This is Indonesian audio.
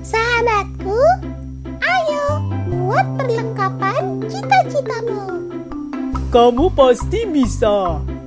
sahabatku, ayo buat perlengkapan cita-citamu. Kamu pasti bisa.